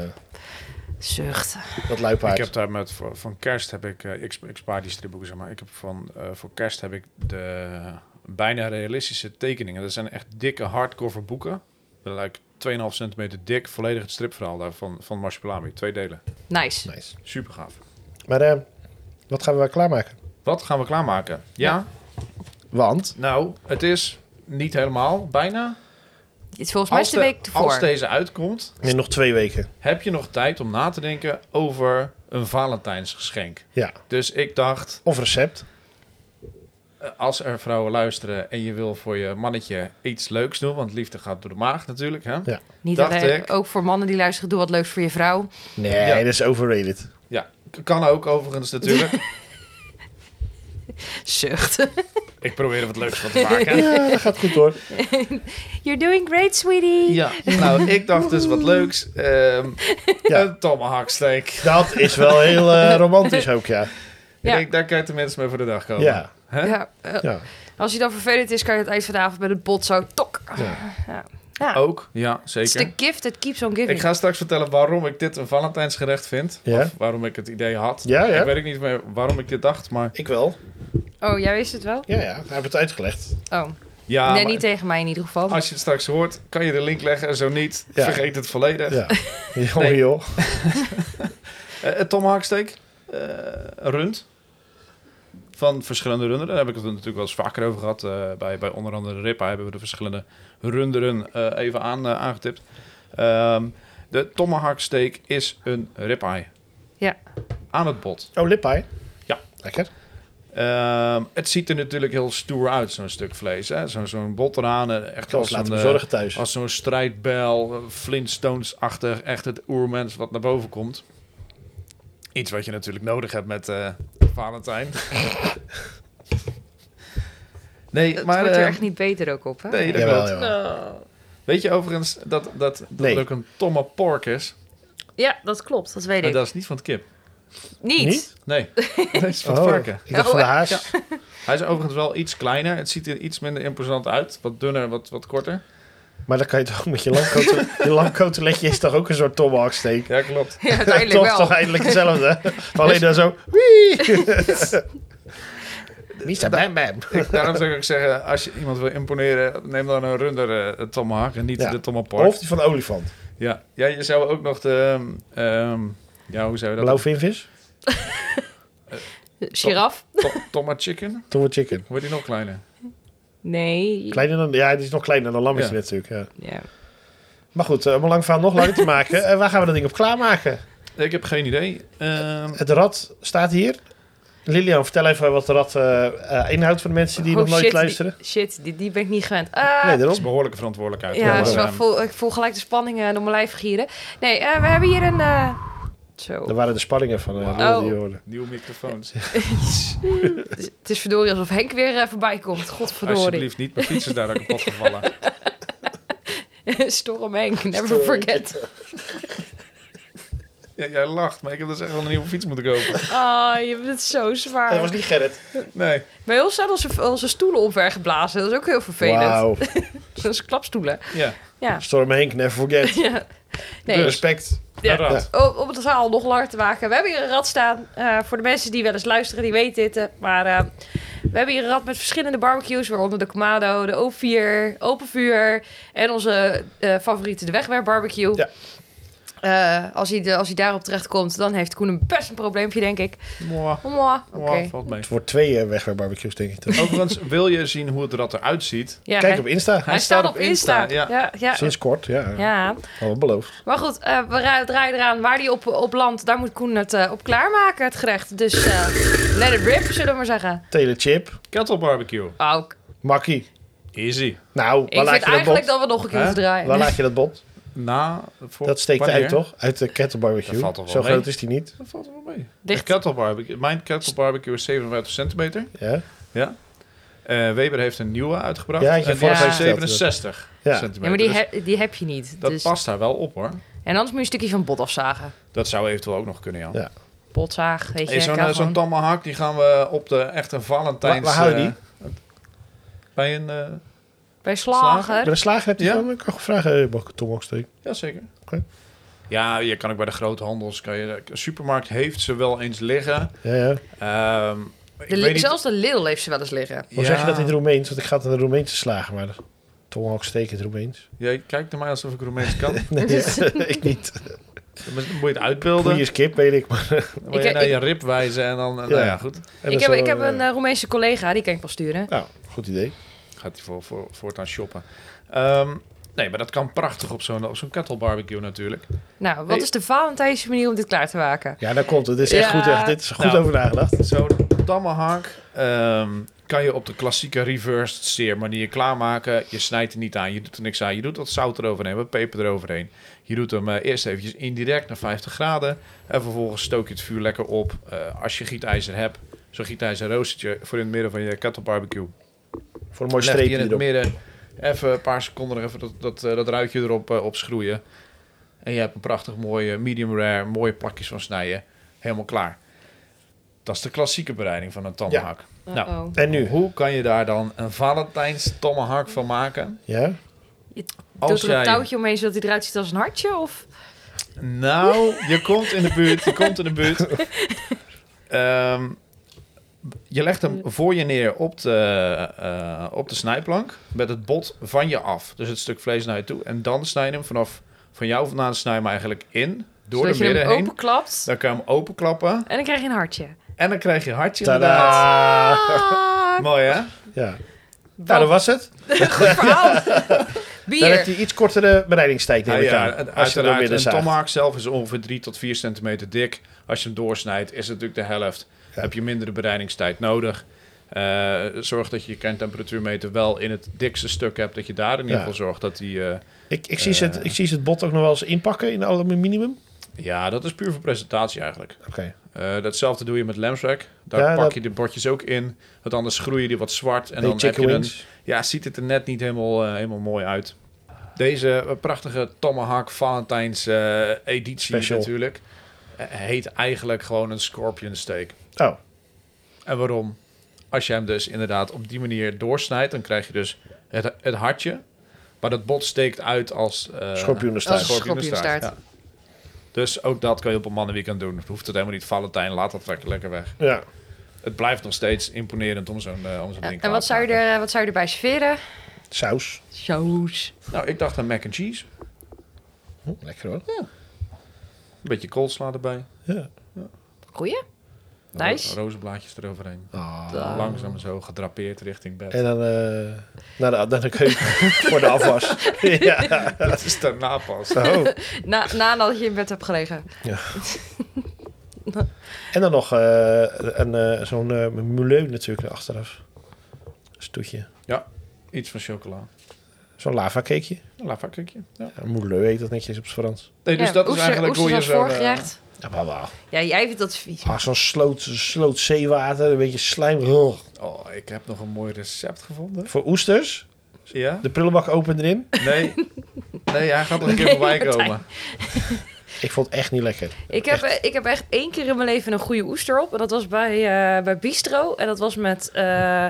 B: Zucht.
A: dat luipaard.
C: Ik heb daar met, voor- van kerst heb ik, eh, ik, sp- ik spaar die stripboeken zeg maar. Ik heb van, eh, voor kerst heb ik de bijna realistische tekeningen. Dat zijn echt dikke hardcover boeken. Dat lijkt 2,5 centimeter dik, volledig het stripverhaal daarvan, van Marsupilami. Twee delen.
B: Nice.
A: Nice.
C: Super gaaf.
A: Maar eh, wat gaan we klaarmaken?
C: Wat gaan we klaarmaken? Ja,
A: Want
C: nou, het is niet helemaal, bijna.
B: Het is volgens mij is de week
C: als
B: ervoor.
C: deze uitkomt,
A: Nee, nog twee weken.
C: heb je nog tijd om na te denken over een Valentijnsgeschenk.
A: Ja.
C: Dus ik dacht,
A: Of recept.
C: eh, als er vrouwen luisteren en je wil voor je mannetje iets leuks doen, want liefde gaat door de maag natuurlijk, hè?
B: Niet
C: dacht
B: alleen,
C: ik.
B: ook voor mannen die luisteren, doe wat leuks voor je vrouw.
A: Nee,
C: Ja.
A: dat is overrated.
C: Ja, k- kan ook overigens natuurlijk.
B: Zucht.
C: ik probeer er wat leuks van te maken.
A: Ja, dat gaat goed hoor.
B: You're doing great, sweetie.
C: Ja, nou, ik dacht dus wat leuks. Ehm
A: Ja.
C: Een tomahawksteak.
A: Dat is wel heel eh, romantisch ook, ja.
B: Ja.
C: Ik, daar kijken de mensen mee voor de dag komen.
A: Ja.
C: Hè?
B: Ja, eh,
A: ja.
B: Als je dan vervelend is, kan je het eind vanavond met een bot zo tok.
A: Ja.
B: Ja. Ja.
C: Ook, ja,
B: Het is
C: zeker.
B: de gift that keeps on giving.
C: Oh, Ik ga straks vertellen waarom ik dit een Valentijnsgerecht vind.
A: Ja.
C: Of waarom ik het idee had.
A: Ja, ja.
C: Ik weet ook niet meer waarom ik dit dacht, maar...
A: Ik wel.
B: Oh, jij wist het wel?
A: Ja, ja. Hij heeft het uitgelegd.
B: Oh,
C: Ja,
B: nee,
C: maar
B: niet tegen mij in ieder geval.
C: als je het straks hoort, kan je de link leggen en zo niet.
A: Ja.
C: Vergeet het volledig.
A: Ja. Joh,
C: Nee.
A: joh.
C: Eh, eh, tomahawksteak, eh, rund. Van verschillende runderen. Daar heb ik het natuurlijk wel eens vaker over gehad. Eh, bij, bij onder andere Rippa hebben we de verschillende runderen eh, even aan, eh, aangetipt. Ehm, de tomahawksteak is een ribeye.
B: Ja.
C: Aan het bot.
A: Oh, lippij.
C: Ja.
A: Lekker.
C: Ehm, het ziet er natuurlijk heel stoer uit, zo'n stuk vlees. hè. Zo'n zo'n bot eraan. eh, Echt
A: Ik zal
C: als
A: het laten
C: een, eh,
A: bezorgen thuis.
C: als zo'n strijdbel, eh, Flintstones-achtig, echt het oermens wat naar boven komt. Iets wat je natuurlijk nodig hebt met eh, Valentijn. nee,
B: het
C: maar...
B: wordt er
C: eh,
B: echt niet beter ook op, hè?
C: nee, dat
A: Jawel,
C: klopt. Nou. Weet je overigens dat, dat, dat
A: Nee.
C: er ook een tomme pork is?
B: Ja, dat klopt. Dat weet
C: En
B: ik.
C: dat is niet van het kip.
B: Niet?
A: Niet?
C: Nee, dat is van het
A: Oh,
C: varken.
A: Ik dacht van de haas.
C: Hij is overigens wel iets kleiner. Het ziet er iets minder imposant uit. Wat dunner, wat, wat korter.
A: Maar dan kan je toch ook met je lamkote... je lamkoteletje is toch ook een soort tomahawksteak?
C: Ja, klopt.
B: Ja, uiteindelijk
A: toch,
B: wel.
A: toch eindelijk hetzelfde. Maar alleen dan zo... Wie? Mr. Bam Bam.
C: Ik- Daarom zou ik ook zeggen, als je iemand wil imponeren, neem dan een runder eh tomahawk en niet
A: Ja.
C: de tomahawk.
A: Of die van de olifant.
C: Ja. ja, je zou ook nog de... ehm, ehm, ja, hoe zou je dat?
A: Blauwvinvis.
B: Giraf?
C: To- Toma chicken?
A: Toen wordt chicken.
C: Wordt die nog kleiner?
B: Nee.
A: Kleiner dan, ja, die is nog kleiner dan lammetje
C: Ja.
A: natuurlijk. Ja.
B: Ja.
A: Maar goed, eh, om een lang verhaal nog langer te maken. eh, waar gaan we dat ding op klaarmaken?
C: Ik heb geen idee. Ehm,
A: Het rad staat hier. Lilian, vertel even wat de rad eh, eh, inhoudt voor de mensen die
B: Oh,
A: nog nooit
B: shit,
A: luisteren.
B: Die, shit, die, die ben ik niet gewend. Ah,
A: Nee,
C: dat is
A: daarom.
C: behoorlijke verantwoordelijkheid.
B: ja,
A: jammer.
B: is wel-
C: Ehm,
B: voel, ik voel gelijk de spanning eh, door mijn lijf gieren. Nee, eh, we hebben hier een... eh, Zo.
A: Daar waren de spanningen van eh,
B: Oh.
C: Wauw.
A: Lilian die je hoorde.
C: Nieuwe microfoons.
B: Het is- Het is verdorie alsof Henk weer eh, voorbij komt. Godverdorie.
C: Alsjeblieft niet, mijn fiets is daar ook kapot gevallen.
B: Storm Henk, never
A: Storm
B: forget.
C: Ja, jij lacht, maar ik heb dus echt wel een nieuwe fiets moeten kopen.
B: Ah, je bent het zo zwaar.
A: Dat was niet Gerrit.
C: Nee.
B: Bij ons zijn onze, onze stoelen omvergeblazen. Dat is ook heel vervelend.
A: Wauw.
B: Dat is klapstoelen.
C: Ja.
B: Ja.
A: Storm Henk, never forget.
B: ja. Nee.
A: Respect.
B: Ja.
C: een rat.
B: O- om het verhaal nog langer te maken. We hebben hier een rad staan. eh, voor de mensen die wel eens luisteren, die weten dit. eh, Maar eh, we hebben hier een rad met verschillende barbecues. Waaronder de Kamado, de O4, Open Vuur. En onze eh, favoriete, de Wegwerp Barbecue.
A: Ja.
B: Eh, als, hij de, als hij daarop terechtkomt, dan heeft Koen een best een probleempje, denk ik.
C: Mwah.
B: Mwah. Oké.
C: Mwah, valt mee.
A: Het wordt twee eh, wegwerpbarbecues, denk ik. toch?
C: Overigens, wil je zien hoe het rad eruit ziet?
B: Ja,
A: Kijk
B: hij,
A: op Insta.
B: hij staat op Insta.
C: ja.
B: ja, ja.
A: Sinds kort, ja.
B: ja.
A: Al beloofd.
B: Maar goed, eh, we ra- draaien eraan. Waar die op, op land, daar moet Koen het eh, op klaarmaken, het gerecht. Dus eh, let it rip, zullen we maar zeggen.
A: Telechip.
C: Kettle barbecue.
B: Oh,
A: Makkie.
C: Easy.
A: Nou,
B: ik
A: waar laat
B: vind
A: je dat
B: eigenlijk
A: bot?
B: dat we nog een keer
C: Hè?
B: moeten draaien.
A: Waar laat je dat bot?
C: Na, voor,
A: Dat steekt
C: wanneer?
A: uit, toch? Uit de kettlebarbecue.
C: Dat valt toch wel
A: Zo
C: mee?
A: groot is die niet.
C: Dat valt er wel mee.
B: Dicht.
C: De kettle barbecue. Mijn kettle barbecue is 57 centimeter.
A: Ja.
C: Ja. Eh, Weber heeft een nieuwe uitgebracht.
A: Ja, had je
C: en die
B: vorige
C: is
A: week verteld,
C: 67
A: Ja.
C: centimeter.
B: Ja, maar die,
C: Dus
B: heb- die heb je niet.
C: dat
B: dus.
C: past daar wel op, hoor.
B: En anders moet je een stukje van bot afzagen.
C: Dat zou eventueel ook nog kunnen, ja.
A: Ja.
B: Botzaag, weet Dus je.
C: Hey, zo'n
B: kan
C: eh, zo'n
B: gewoon.
C: tomahawk, die gaan we op de echte Valentijns...
A: Waar- waar hou je
C: eh, bij een... eh
B: Bij
A: Bij
B: slager.
A: de slager heb je
C: Ja?
A: dan ik kan vragen, eh, mag ik een tomahawksteak?
C: jazeker.
A: Oké.
C: Ja, je kan ook bij de groothandels... Kan je, de supermarkt heeft ze wel eens liggen.
A: Ja, ja.
C: Ehm ik
B: De,
C: weet
B: Lidl-
C: niet-
B: zelfs de Lidl heeft ze wel eens liggen.
A: Hoe
C: Ja.
A: zeg je dat in het Roemeens? Want ik ga het naar de Roemeense slagen, maar tomahawksteak in het Roemeens.
C: Jij kijkt naar mij alsof ik Roemeens kan.
A: Nee, ik niet.
C: Dan moet je het uitbeelden.
A: Goeie skip, weet ik. Maar,
C: Dan moet je
B: Ik-
C: naar
B: ik-
C: je rib wijzen en dan... eh,
A: Ja.
C: Nou ja, goed.
A: en dan
B: ik heb,
A: zo,
B: ik heb
A: eh,
B: een eh, Roemeense collega, die kan ik wel sturen.
A: nou, goed idee.
C: Gaat hij voor, voor, voortaan shoppen. Ehm, Nee, maar dat kan prachtig op zo'n op zo'n kettle barbecue natuurlijk.
B: Nou, wat
C: Hey.
B: is de Valentijnse manier om dit klaar te maken?
A: Ja, daar komt het. Dit is echt
B: Ja.
A: goed. Echt, dit is goed
C: Nou.
A: over nagedacht.
C: Zo'n tomahawk ehm, kan je op de klassieke reversed sear manier klaarmaken. Je snijdt er niet aan, je doet er niks aan. Je doet wat zout eroverheen, wat peper eroverheen. Je doet hem eh, eerst eventjes indirect naar 50 graden. En vervolgens stook je het vuur lekker op. Eh, als je gietijzer hebt, zo'n gietijzer roostertje voor in het midden van je kettle barbecue.
A: Voor een mooi
C: Leg die
A: streepje
C: in het
A: erop.
C: midden. Even een paar seconden er even dat, dat, eh, dat ruitje erop eh, op schroeien. En je hebt een prachtig mooie medium rare, mooie plakjes van snijden. Helemaal klaar. Dat is de klassieke bereiding van een tomahawk. Nou,
B: Uh-oh.
A: En nu?
C: hoe kan je daar dan een Valentijns tomahawk van maken?
A: Ja?
C: Als
B: Doet er een
C: jij...
B: touwtje omheen zodat hij eruit ziet als een hartje? Of?
C: Nou, je komt in de buurt, je komt in de buurt. Ehm, je legt hem voor je neer op de, eh, op de snijplank met het bot van je af. Dus het stuk vlees naar je toe. En dan snij je hem vanaf van jou vandaan snij je hem eigenlijk in. Door
B: zodat
C: de
B: je
C: midden
B: hem
C: heen.
B: openklapt
C: Dan kan je hem openklappen.
B: en dan krijg je een hartje.
C: En dan krijg je hartje inderdaad.
A: Tadaa!
B: Ah,
C: Mooi hè?
A: Ja.
B: wat
A: Nou, dat was het.
B: een verhaal.
A: Dan heb
B: Bier.
A: je iets kortere bereidingstijd neem
C: Nou
A: ik
C: ja,
A: aan, als je er
C: uiteraard,
A: midden
C: een
A: zaagt.
C: tomahawk zelf is ongeveer 3 tot 4 centimeter dik. Als je hem doorsnijdt, is het natuurlijk de helft.
A: Ja.
C: Heb je mindere bereidingstijd nodig. Eh, zorg dat je je kerntemperatuurmeter wel in het dikste stuk hebt. Dat je daar in ieder
A: Ja.
C: geval zorgt dat die... eh,
A: Ik, ik, zie ze het, ik zie ze het bot ook nog wel eens inpakken in aluminium.
C: ja, dat is puur voor presentatie eigenlijk.
A: Oké.
C: Eh, datzelfde doe je met lamsrack. Daar
A: Ja,
C: pak
A: dat-
C: je de bordjes ook in. Want anders groeien die wat zwart. En
A: Die
C: dan heb je dus,
A: chicken
C: een,
A: wings.
C: Ja, ziet het er net niet helemaal, eh, helemaal mooi uit. Deze eh, prachtige Tomahawk Valentijns eh, editie
A: Special.
C: natuurlijk... eh, heet eigenlijk gewoon een scorpion steak.
A: Oh,
C: En waarom? Als je hem dus inderdaad op die manier doorsnijdt... dan krijg je dus het, het hartje. Maar dat bot steekt uit als... eh,
A: schorpioenenstaart.
B: Als- schorpioenstaart.
C: Ja. Dus ook dat kan je op een mannenweekend doen. Hoeft het helemaal niet Valentijn, laat dat lekker, lekker weg.
A: Ja.
C: Het blijft nog steeds imponerend om zo'n eh, om zo'n ding
B: En wat zou, je
C: maken.
B: er, eh, wat zou je erbij serveren?
A: Saus.
B: Saus.
C: Nou, ik dacht aan mac and cheese.
A: Hm, lekker hoor.
C: Een beetje koolsla erbij.
A: Ja.
B: Goeie.
C: Ro-
B: Nice.
C: Rozenblaadjes eroverheen.
A: Ah.
B: Ah.
C: Langzaam zo gedrapeerd richting bed.
A: En dan eh, naar, de, naar de keuken voor de afwas. ja.
C: dat is daarna pas.
A: Oh.
B: Na, nadat je in bed hebt gelegen.
A: En dan nog eh, een, eh, zo'n eh milieu natuurlijk achteraf. Stoetje.
C: Iets van chocola.
A: Zo'n lavacakeje.
C: Een lavakkekje. Ja.
A: Ja, milieu heet dat netjes op het Frans.
C: Nee, dus
B: Ja,
C: dat is
B: oester-
C: eigenlijk hoe je
B: oesters
C: zo... eh,
B: als voorgerecht.
A: Ja, maar wel.
B: Ja, jij vindt dat vies.
A: Ah, zo'n sloot, sloot zeewater, een beetje slijm. Ugh.
C: oh, ik heb nog een mooi recept gevonden.
A: Voor oesters,
C: Ja?
A: de prullenbak open erin.
C: Nee. Nee, hij gaat nog een keer voorbij komen.
A: Ik vond het echt niet lekker.
B: Ik heb, eh, ik heb echt één keer in mijn leven een goede oester op. En dat was bij, eh, bij Bistro. En dat was met, eh,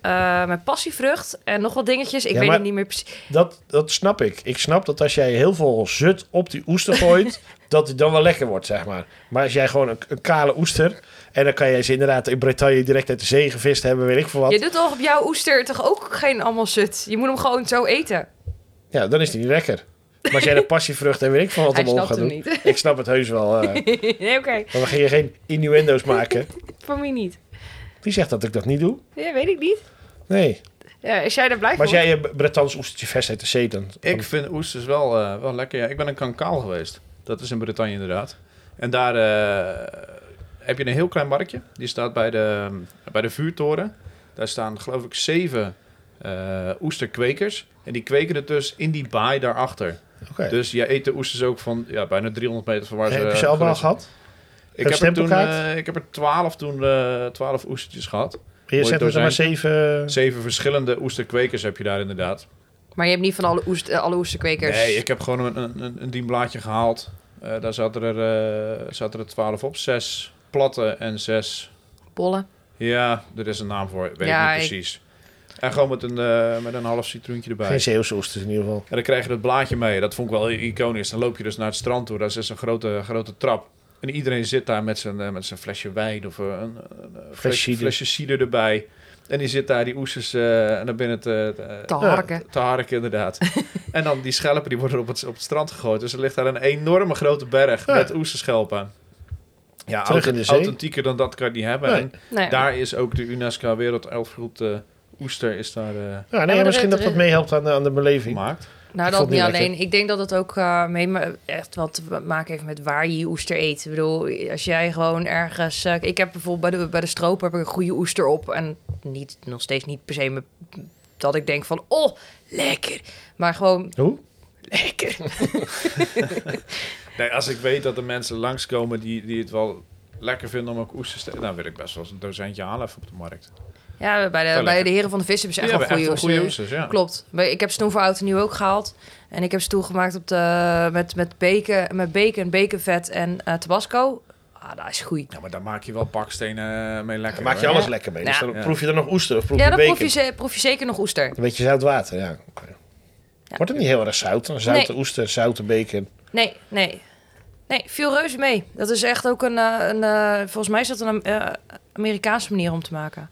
B: eh, met passievrucht en nog wat dingetjes. Ik
A: Ja,
B: weet
A: maar-
B: het niet meer precies.
A: Dat, dat snap ik. Ik snap dat als jij heel veel zut op die oester gooit, dat het dan wel lekker wordt, zeg maar. Maar als jij gewoon een, een kale oester, en dan kan jij ze inderdaad in Bretagne direct uit de zee gevist hebben, weet ik veel
B: Je
A: wat.
B: doet toch op jouw oester toch ook geen allemaal zut? Je moet hem gewoon zo eten.
A: Ja, dan is die niet lekker. Maar als jij de passievrucht en weet ik veel wat
B: Hij
A: omhoog
B: snapt
A: gaat
B: hem
A: doen.
B: niet.
A: Ik snap het heus wel. eh.
B: nee, oké.
A: maar we gingen geen innuendo's maken.
B: Voor mij niet.
A: Wie zegt dat ik dat niet doe?
B: Ja, weet ik niet.
A: Nee.
B: Ja, als jij er blij
A: Maar als
B: van
A: jij een Bretans oestertje vest uit de zee, dan...
C: Ik vind oesters wel, eh, wel lekker. Ja, ik ben een kankaal geweest. Dat is in Bretagne inderdaad. En daar eh, heb je een heel klein marktje. Die staat bij de, bij de vuurtoren. Daar staan geloof ik zeven eh, oesterkwekers. En die kweken het dus in die baai daarachter.
A: Oké.
C: Dus je eet de oesters ook van ja, bijna 300 meter van waar ze...
A: Heb je ze allemaal
C: gerust-
A: gehad?
C: Ik
A: Een
C: heb, er toen,
A: stempelkaart?
C: eh, ik heb er 12 toen, eh 12 oestertjes gehad.
A: Je
C: Mooi
A: zegt dat er maar
C: dozijn.
A: zeven...
C: Zeven verschillende oesterkwekers heb je daar inderdaad.
B: Maar je hebt niet van alle, oest, eh, alle oesterkwekers.
C: Nee, ik heb gewoon een, een, een, een dienblaadje gehaald. Eh, daar zaten er, eh, zaten er 12 op. Zes platte en zes.
B: Bollen.
C: Ja, er is een naam voor. Weet
B: Ja,
C: ik
B: ik-
C: niet precies. En gewoon met een, eh, met een half citroentje erbij.
A: Geen Zeeuwse oesters in ieder geval.
C: En dan krijg je dat blaadje mee. Dat vond ik wel iconisch. Dan loop je dus naar het strand toe. Daar is dus een grote, grote trap. En iedereen zit daar met zijn, eh, met zijn flesje wijn of eh, een, een, een flesje,
A: cider.
C: flesje cider erbij. En die zit daar, die oesters, eh, naar binnen te, te,
B: Te harken.
C: te harken inderdaad. en dan die schelpen die worden op het, op het strand gegooid. Dus er ligt daar een enorme grote berg
A: Ja.
C: met oesterschelpen. Ja,
A: Terug in de
C: authent-
A: zee.
C: authentieker dan dat kan je niet hebben.
A: Nee.
C: En
B: Nee.
C: daar is ook de UNESCO Werelderfgoed eh Oester is daar eh,
A: Ja,
B: maar
A: nee,
B: er-
A: misschien dat
B: er-
A: dat meehelpt aan de, aan de beleving.
C: gemaakt.
B: Nou,
A: Ik
B: dat
A: vond
B: niet
A: het
B: alleen.
A: niet
B: Ik denk dat het ook eh, mee, me- echt wat te maken heeft met waar je je oester eet. Ik bedoel, als jij gewoon ergens... eh, ik heb bijvoorbeeld bij de, bij de stroop heb ik een goede oester op. En niet, nog steeds niet per se me- dat ik denk van... Oh, lekker. Maar gewoon
A: Hoe?
B: lekker.
C: Nee, als ik weet dat er mensen langskomen die, die het wel lekker vinden om ook oesters te eten, dan wil ik best wel eens een docentje halen even op de markt.
B: Ja, bij de,
C: Wel
B: bij
C: lekker.
B: de heren van de vis hebben ze
C: Ja,
B: echt wel goede oesters.
C: oesters, ja.
B: Klopt. Maar Ik heb ze toen voor oud en nieuw ook gehaald. En ik heb ze toen gemaakt op de, met, met, bacon, met bacon, baconvet en eh, tabasco. Ah, dat is goed.
C: Ja, maar daar maak je wel bakstenen mee lekker.
A: Daar maak je
C: hoor.
A: alles lekker mee. Dus
B: Ja.
A: dan
C: Ja.
A: proef je er nog oester of proef
B: Ja,
A: je
B: dan
A: bacon.
B: proef je, ze- proef je zeker nog oester.
A: Een beetje zout water, ja. Oké. Wordt het niet heel erg zout? Een zoute
B: Nee.
A: oester, zoute bacon.
B: Nee, nee. Nee, viel reuze mee. Dat is echt ook een... eh, een eh, volgens mij is dat een eh, Amerikaanse manier om te maken.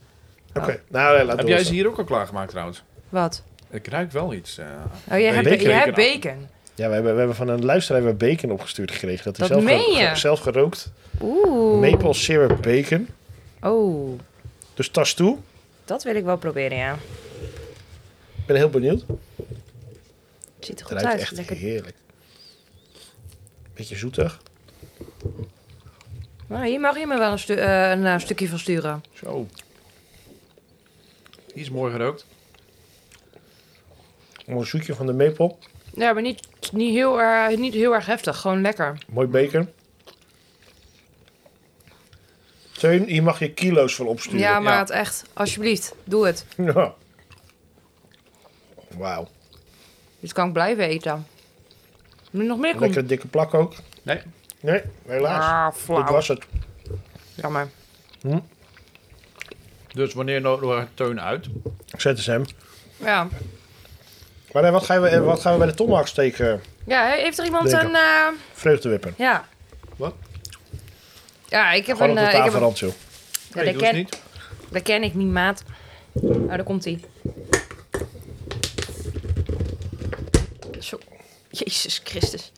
A: Oké, nou ja, laat
C: Heb jij ze hier ook al klaargemaakt trouwens?
B: Wat?
C: Ik ruik wel iets. eh.
B: Oh, jij hebt
A: Bacon.
B: bacon. Jij hebt
C: Bacon.
B: bacon.
A: Ja, we hebben, we hebben van een luisteraar hebben we bacon opgestuurd gekregen. Dat, hij
B: Dat
A: zelf,
B: meen
A: ge-
B: je?
A: ge- zelf gerookt.
B: Oeh.
A: Maple syrup bacon.
B: Oh,
A: Dus tas toe.
B: dat wil ik wel proberen, ja.
A: Ik ben heel benieuwd.
B: Het ziet er
A: Het
B: goed
A: ruikt
B: uit.
A: echt
B: Lekker.
A: heerlijk. Beetje zoetig.
B: Nou, hier mag je me wel een, stu- eh, een eh, stukje van sturen.
C: Zo. Die is mooi gerookt.
A: Mooi zoetje van de maple.
B: Ja, maar niet, niet, heel, erg- niet heel erg heftig. Gewoon lekker.
A: Mooi bacon. Teun, hier mag je kilo's van opsturen.
B: Ja, maar
C: ja.
B: het echt. Alsjeblieft, doe het.
A: Ja. Wauw.
B: Dit Dus kan ik blijven eten. Moet er nog meer komen?
A: Lekker dikke plak ook.
C: Nee,
A: Nee, helaas.
B: Ah,
A: Dit
B: flauw.
A: was het.
B: Jammer.
C: dus wanneer nodig Teun uit?
A: ZSM.
B: Ja.
A: Maar eh, wat gaan we, eh, wat gaan we bij de tomahawk steken?
B: Ja, he- heeft er iemand
A: Denk
B: een... eh,
A: Vreugdewippen.
B: ja.
C: Wat?
B: Ja, ik heb
A: Gewoon op
B: een...
A: de
B: eh, ik heb een-
A: tafelrand, joh.
B: ja,
C: nee,
B: dat,
C: doe eens
B: ken,
C: niet.
B: dat ken ik niet, maat. Oh, daar komt hij. Zo. Jezus Christus.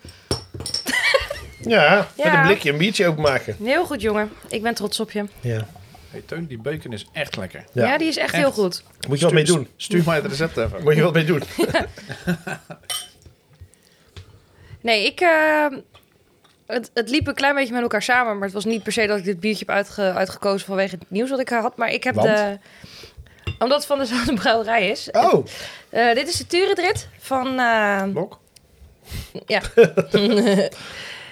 A: Ja, met
B: Ja.
A: een blikje een biertje openmaken.
B: Heel goed, jongen. Ik ben trots op je.
A: Ja.
C: Hey, Teun, die bacon is echt lekker.
B: Ja,
A: Ja.
B: die is echt,
C: Echt.
B: heel goed.
A: Moet je wat mee doen.
C: Stuur mij het recept even.
A: Moet je wat mee doen.
B: Nee, ik... eh, het, het liep een klein beetje met elkaar samen. Maar het was niet per se dat ik dit biertje heb uitge- uitgekozen vanwege het nieuws wat ik had. Maar ik heb
A: Want?
B: de... Omdat het van dezelfde brouwerij is.
A: Oh,
B: Eh, dit is de Turendrit van... eh,
C: Blok?
B: Ja.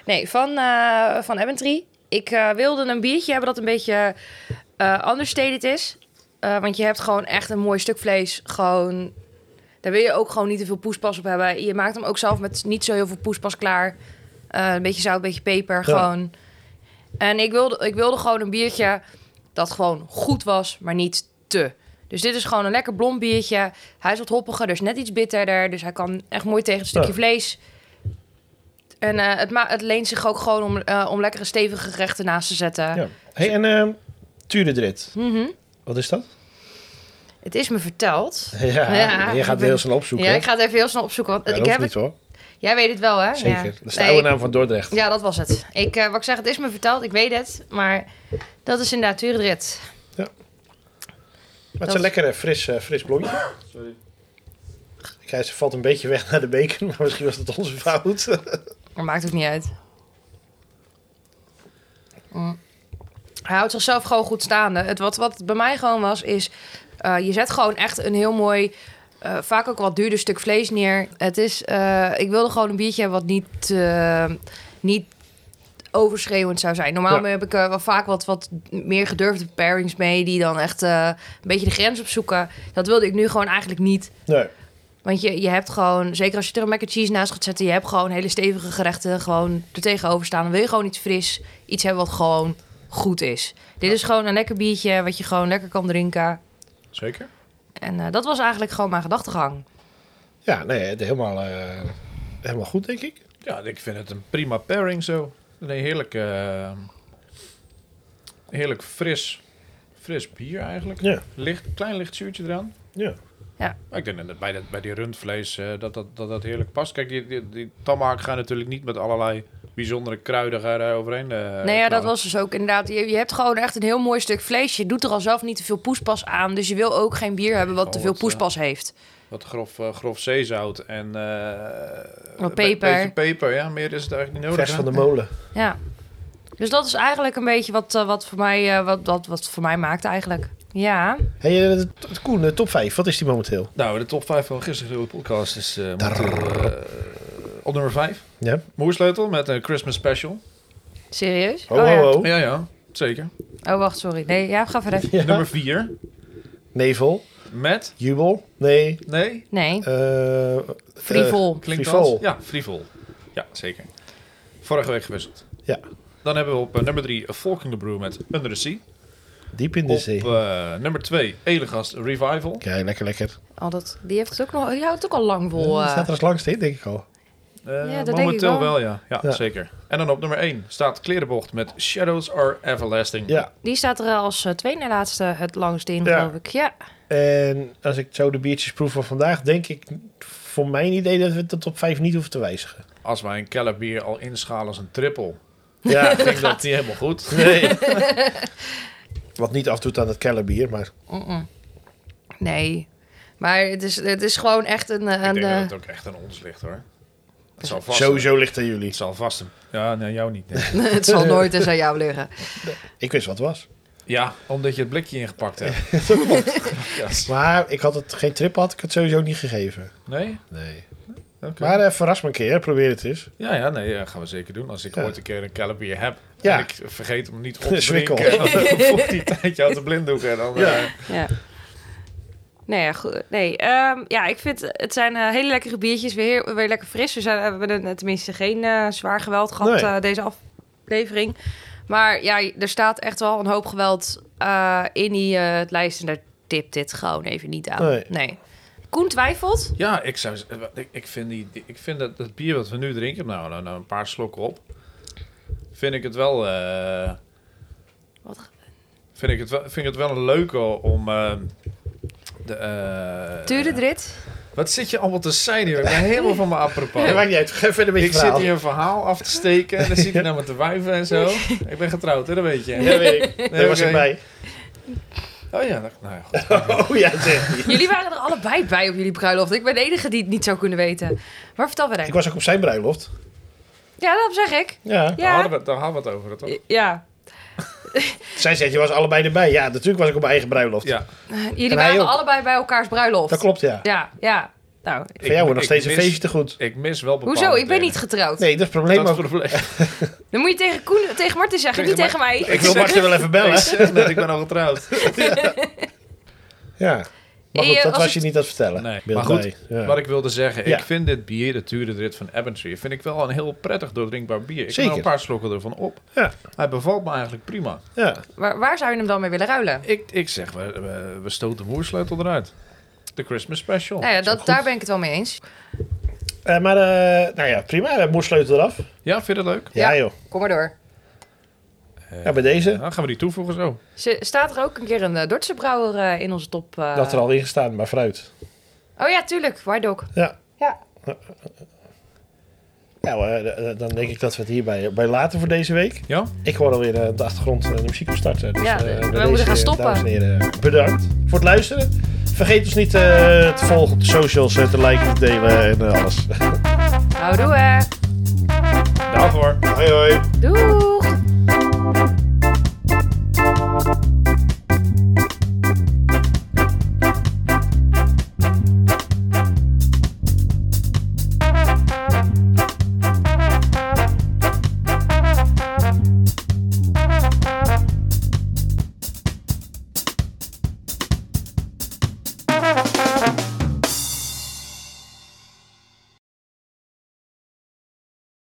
B: nee, van, eh van Abbentree. Ik eh, wilde een biertje hebben dat een beetje eh understated is. Eh, want je hebt gewoon echt een mooi stuk vlees. Gewoon, daar wil je ook gewoon niet te veel poespas op hebben. Je maakt hem ook zelf met niet zo heel veel poespas klaar. Eh, een beetje zout, een beetje peper, gewoon. En ik wilde, ik wilde gewoon een biertje dat gewoon goed was, maar niet te. Dus dit is gewoon een lekker blond biertje. Hij is wat hoppiger, dus net iets bitterder. Dus hij kan echt mooi tegen het stukje
A: Ja.
B: vlees. En eh, het, ma- het leent zich ook gewoon om, eh, om lekkere stevige gerechten naast te zetten.
A: Ja. Hey, en ehm Turedrit.
B: Mhm.
A: Wat is dat?
B: Het is me verteld.
A: Ja,
B: Ja,
A: je
B: ik
A: gaat het
B: ben-
A: heel snel opzoeken.
B: Ja,
A: hè?
B: ik ga het even heel snel opzoeken. Want
A: Ja, dat
B: ik
A: hoeft
B: heb
A: niet hoor.
B: het, jij weet het wel, hè?
A: Zeker.
B: Ja.
A: Dat is de
B: Nee,
A: oude naam van Dordrecht.
B: ja, dat was het. Ik, eh, wat ik zeg, het is me verteld. Ik weet het. Maar dat is inderdaad Turendrit.
A: maar het is een lekkere fris, eh, fris blondje.
C: Sorry.
A: Ik zei, ze valt een beetje weg naar de beker, maar misschien was dat onze fout.
B: Maar maakt ook niet uit. Mm. Hij houdt zichzelf gewoon goed staande. Het, wat, wat het bij mij gewoon was, is... eh, je zet gewoon echt een heel mooi... eh, vaak ook wat duurder stuk vlees neer. Het is... eh, ik wilde gewoon een biertje hebben wat niet... eh, niet overschreeuwend zou zijn. Normaal
A: Ja.
B: heb ik eh, wel vaak wat, wat meer gedurfde pairings mee... die dan echt eh, een beetje de grens opzoeken. Dat wilde ik nu gewoon eigenlijk niet.
A: nee.
B: Want je, je hebt gewoon, zeker als je er een mac and cheese naast gaat zetten, je hebt gewoon hele stevige gerechten gewoon er tegenover staan. Dan wil je gewoon iets fris, iets hebben wat gewoon goed is. Dit is gewoon een lekker biertje wat je gewoon lekker kan drinken.
C: Zeker?
B: En eh, dat was eigenlijk gewoon mijn gedachtegang.
A: Ja, nee, het is helemaal, eh, helemaal goed, denk ik.
C: Ja, ik vind het een prima pairing zo. Een heerlijk, eh, heerlijk fris, fris bier eigenlijk.
A: Ja.
C: Licht, klein licht zuurtje eraan.
A: Ja.
C: Maar ik denk dat bij, dat bij die rundvlees eh, dat, dat, dat dat heerlijk past. Kijk, die, die, die tamahawk gaan natuurlijk niet met allerlei bijzondere kruiden er overheen. eh,
B: nee, ja, dat
C: knallen.
B: was dus ook inderdaad. Je, je hebt gewoon echt een heel mooi stuk vlees. Je doet er al zelf niet te veel poespas aan. Dus je wil ook geen bier hebben wat
C: Oh,
B: te veel
C: wat, eh,
B: poespas heeft.
C: Wat grof, eh, grof zeezout en... eh,
B: Wat
C: een
B: peper.
C: Beetje peper, ja. Meer is het eigenlijk niet nodig.
A: Vers van de molen.
B: Ja. Dus dat is eigenlijk een beetje wat, eh, wat, voor, mij, eh, wat, wat, wat voor mij maakt eigenlijk. Ja.
A: Hey, eh, t- t- Koen, de top 5, wat is die momenteel?
C: Nou, de top 5 van gisteren de podcast is eh, momenteel, eh, op nummer 5.
A: Ja.
C: Moersleutel met een Christmas special.
B: Serieus?
A: Ho,
B: oh, ja.
A: ho, ho.
C: Ja, ja. Zeker.
B: Oh, wacht, sorry. Nee, ja, ga verder.
A: Ja.
C: Nummer 4
A: Nevel,
C: met...
A: jubel, nee.
C: Nee?
B: Nee,
A: eh, eh,
B: frivol.
C: Klinkt
A: Frivol.
C: dat? Ja, frivol. Ja, zeker. Vorige week gewisseld.
A: Ja.
C: Dan hebben we op eh, nummer 3 Volking the Brew met Under the Sea.
A: diep in de
C: Op
A: zee.
C: eh, nummer 2 Elegast Revival.
A: Kijk, lekker, lekker.
B: Al dat, die, heeft het ook nog, die houdt het ook al lang vol.
A: Die
B: eh.
A: staat er als langste in, denk ik al.
C: Eh,
B: Ja, dat denk ik
C: momenteel
B: wel.
C: ja. ja.
A: Ja.
C: zeker. En dan op nummer 1 staat Klerenbocht met Shadows Are Everlasting.
A: Ja,
B: Die staat er als eh, tweede na laatste het langst in,
A: Ja.
B: geloof ik. Ja.
A: en als ik zo de biertjes proef van vandaag, denk ik voor mijn idee dat we de top 5 niet hoeven te wijzigen.
C: Als wij een Keller bier al inschalen als een triple,
A: Ja,
C: ging dat niet helemaal goed.
A: nee. Wat niet afdoet aan het kellerbier, maar
B: Mm-mm. Nee. Maar het is, het is gewoon echt een... eh,
C: Ik
B: een
C: denk
B: eh,
C: dat het ook echt aan ons ligt hoor. Het zal vast
A: sowieso ligt aan jullie.
C: Het zal vast een- Ja, nee, jou niet. nee.
B: het zal nooit eens aan jou liggen.
A: Ik wist wat het was.
C: ja, omdat je het blikje ingepakt hebt. Ja.
A: Maar ik had het geen trip, had ik het sowieso niet gegeven.
C: Nee?
A: Nee.
C: Oké.
A: Maar eh, verras me een keer, probeer het eens.
C: Ja, ja, nee, ja, gaan we zeker doen. Als ik
A: Ja.
C: ooit een keer een Keller bier heb
A: Ja.
C: en ik vergeet hem niet op te
A: Zwikkel.
C: drinken. Dan voelt die tijd jou te blinddoeken. Dan,
A: Ja.
C: eh,
B: Ja. Nee, ja, goed. nee ehm, ja, ik vind het zijn eh, hele lekkere biertjes. Weer, heel- weer lekker fris. We, zijn, eh, we hebben een- tenminste geen eh, zwaar geweld gehad
A: Nee.
B: eh, deze aflevering. Maar ja, er staat echt wel een hoop geweld eh, in die eh, het lijst. En daar tipt dit gewoon even niet aan.
A: Nee.
B: Nee. Koen twijfelt.
C: Ja, ik, zou, eh, ik, ik vind, die, die- ik vind dat, dat bier wat we nu drinken, nou, nou, nou, een paar slokken op, vind ik het wel, eh,
B: Wat?
C: vind ik het wel, vind ik het wel een leuke om... eh, de, eh,
B: Tuurde dit?
C: wat zit je allemaal te zijn hier? Ik ben helemaal van mijn apropos.
A: Dat maakt niet uit, ga verder met je
C: Ik zit
A: verhaal.
C: hier een verhaal af te steken en dan zit je naar me te wijven en zo. Ik ben getrouwd, hè, dat weet je.
A: Ja, weet ik. Daar was
C: oké.
A: ik bij.
C: Oh ja, dat- nou ja, goed.
A: Oh ja, zeg je.
B: Jullie waren er allebei bij op jullie bruiloft. Ik ben de enige die het niet zou kunnen weten. Maar vertel verder.
A: Ik was ook op zijn bruiloft.
B: Ja, dat zeg ik.
A: Ja.
C: Daar,
B: Ja.
C: hadden we, het- daar hadden we het over, toch?
B: Ja.
A: Zij zegt, je was allebei erbij. Ja, natuurlijk was ik op mijn eigen bruiloft.
C: Ja,
B: Jullie
A: En hij
B: waren
A: ook.
B: allebei bij elkaars bruiloft.
A: Dat klopt, ja.
B: Ja, ja. Nou,
A: Van jou wordt nog
C: ik
A: steeds een
C: mis-
A: feestje te goed.
C: ik mis wel bepaalde
B: hoezo? Ik ben
C: dingen.
B: niet getrouwd.
A: Nee, dat is het probleem
C: Dat is
A: ook.
C: het probleem.
B: Dan moet je tegen, Koen, tegen Martin zeggen,
C: Tegen
B: niet tegen mij.
A: Ik wil
C: zeg-
A: Martin wel even bellen.
C: Ik zeg net, ik ben al getrouwd.
A: Ja. Maar
B: Eh,
A: goed, dat
B: als
A: was je
B: het-
A: niet aan het vertellen.
C: Nee,
A: Beeld
C: maar goed,
A: bij. Ja.
C: Wat ik wilde zeggen,
A: Ja.
C: ik vind dit bier, de Tuurdrit van Abentry, vind ik wel een heel prettig doordrinkbaar bier. Ik heb
A: Zeker.
C: er een paar slokken ervan op.
A: Ja.
C: Hij bevalt me eigenlijk prima.
A: Ja.
B: Waar, waar zou je hem dan mee willen ruilen?
A: Oh,
C: Ik, ik zeg, we, we, we stoten de moersleutel eruit. De Christmas special.
B: nou ja, dat, daar ben ik het wel mee eens.
A: Eh, maar, eh, nou ja, prima. Eh, Moersleutel eraf.
C: Ja, vind je dat leuk?
A: Ja,
B: Ja.
A: joh.
B: Kom maar door.
A: Ja, bij deze.
C: Dan gaan we die toevoegen zo.
B: Ze, staat er ook een keer een eh, Dordtse brouwer eh, in onze top? eh?
A: Dat had er al in gestaan, maar fruit.
B: Oh ja, tuurlijk. White Dog.
A: Ja.
B: Ja.
A: Nou, eh, eh, dan denk ik dat we het hierbij eh, bij laten voor deze week.
C: Ja?
A: Ik hoor alweer eh, op de achtergrond eh, de muziek opstarten. Dus,
B: Ja,
A: eh,
B: we
A: bij
B: moeten gaan stoppen.
A: Dames en heren, bedankt voor het luisteren. Vergeet ons niet eh, te volgen op de socials, eh, te liken, te delen en eh, alles.
B: Nou, doe hè.
C: Daarvoor.
A: Hoi hoi.
B: Doei.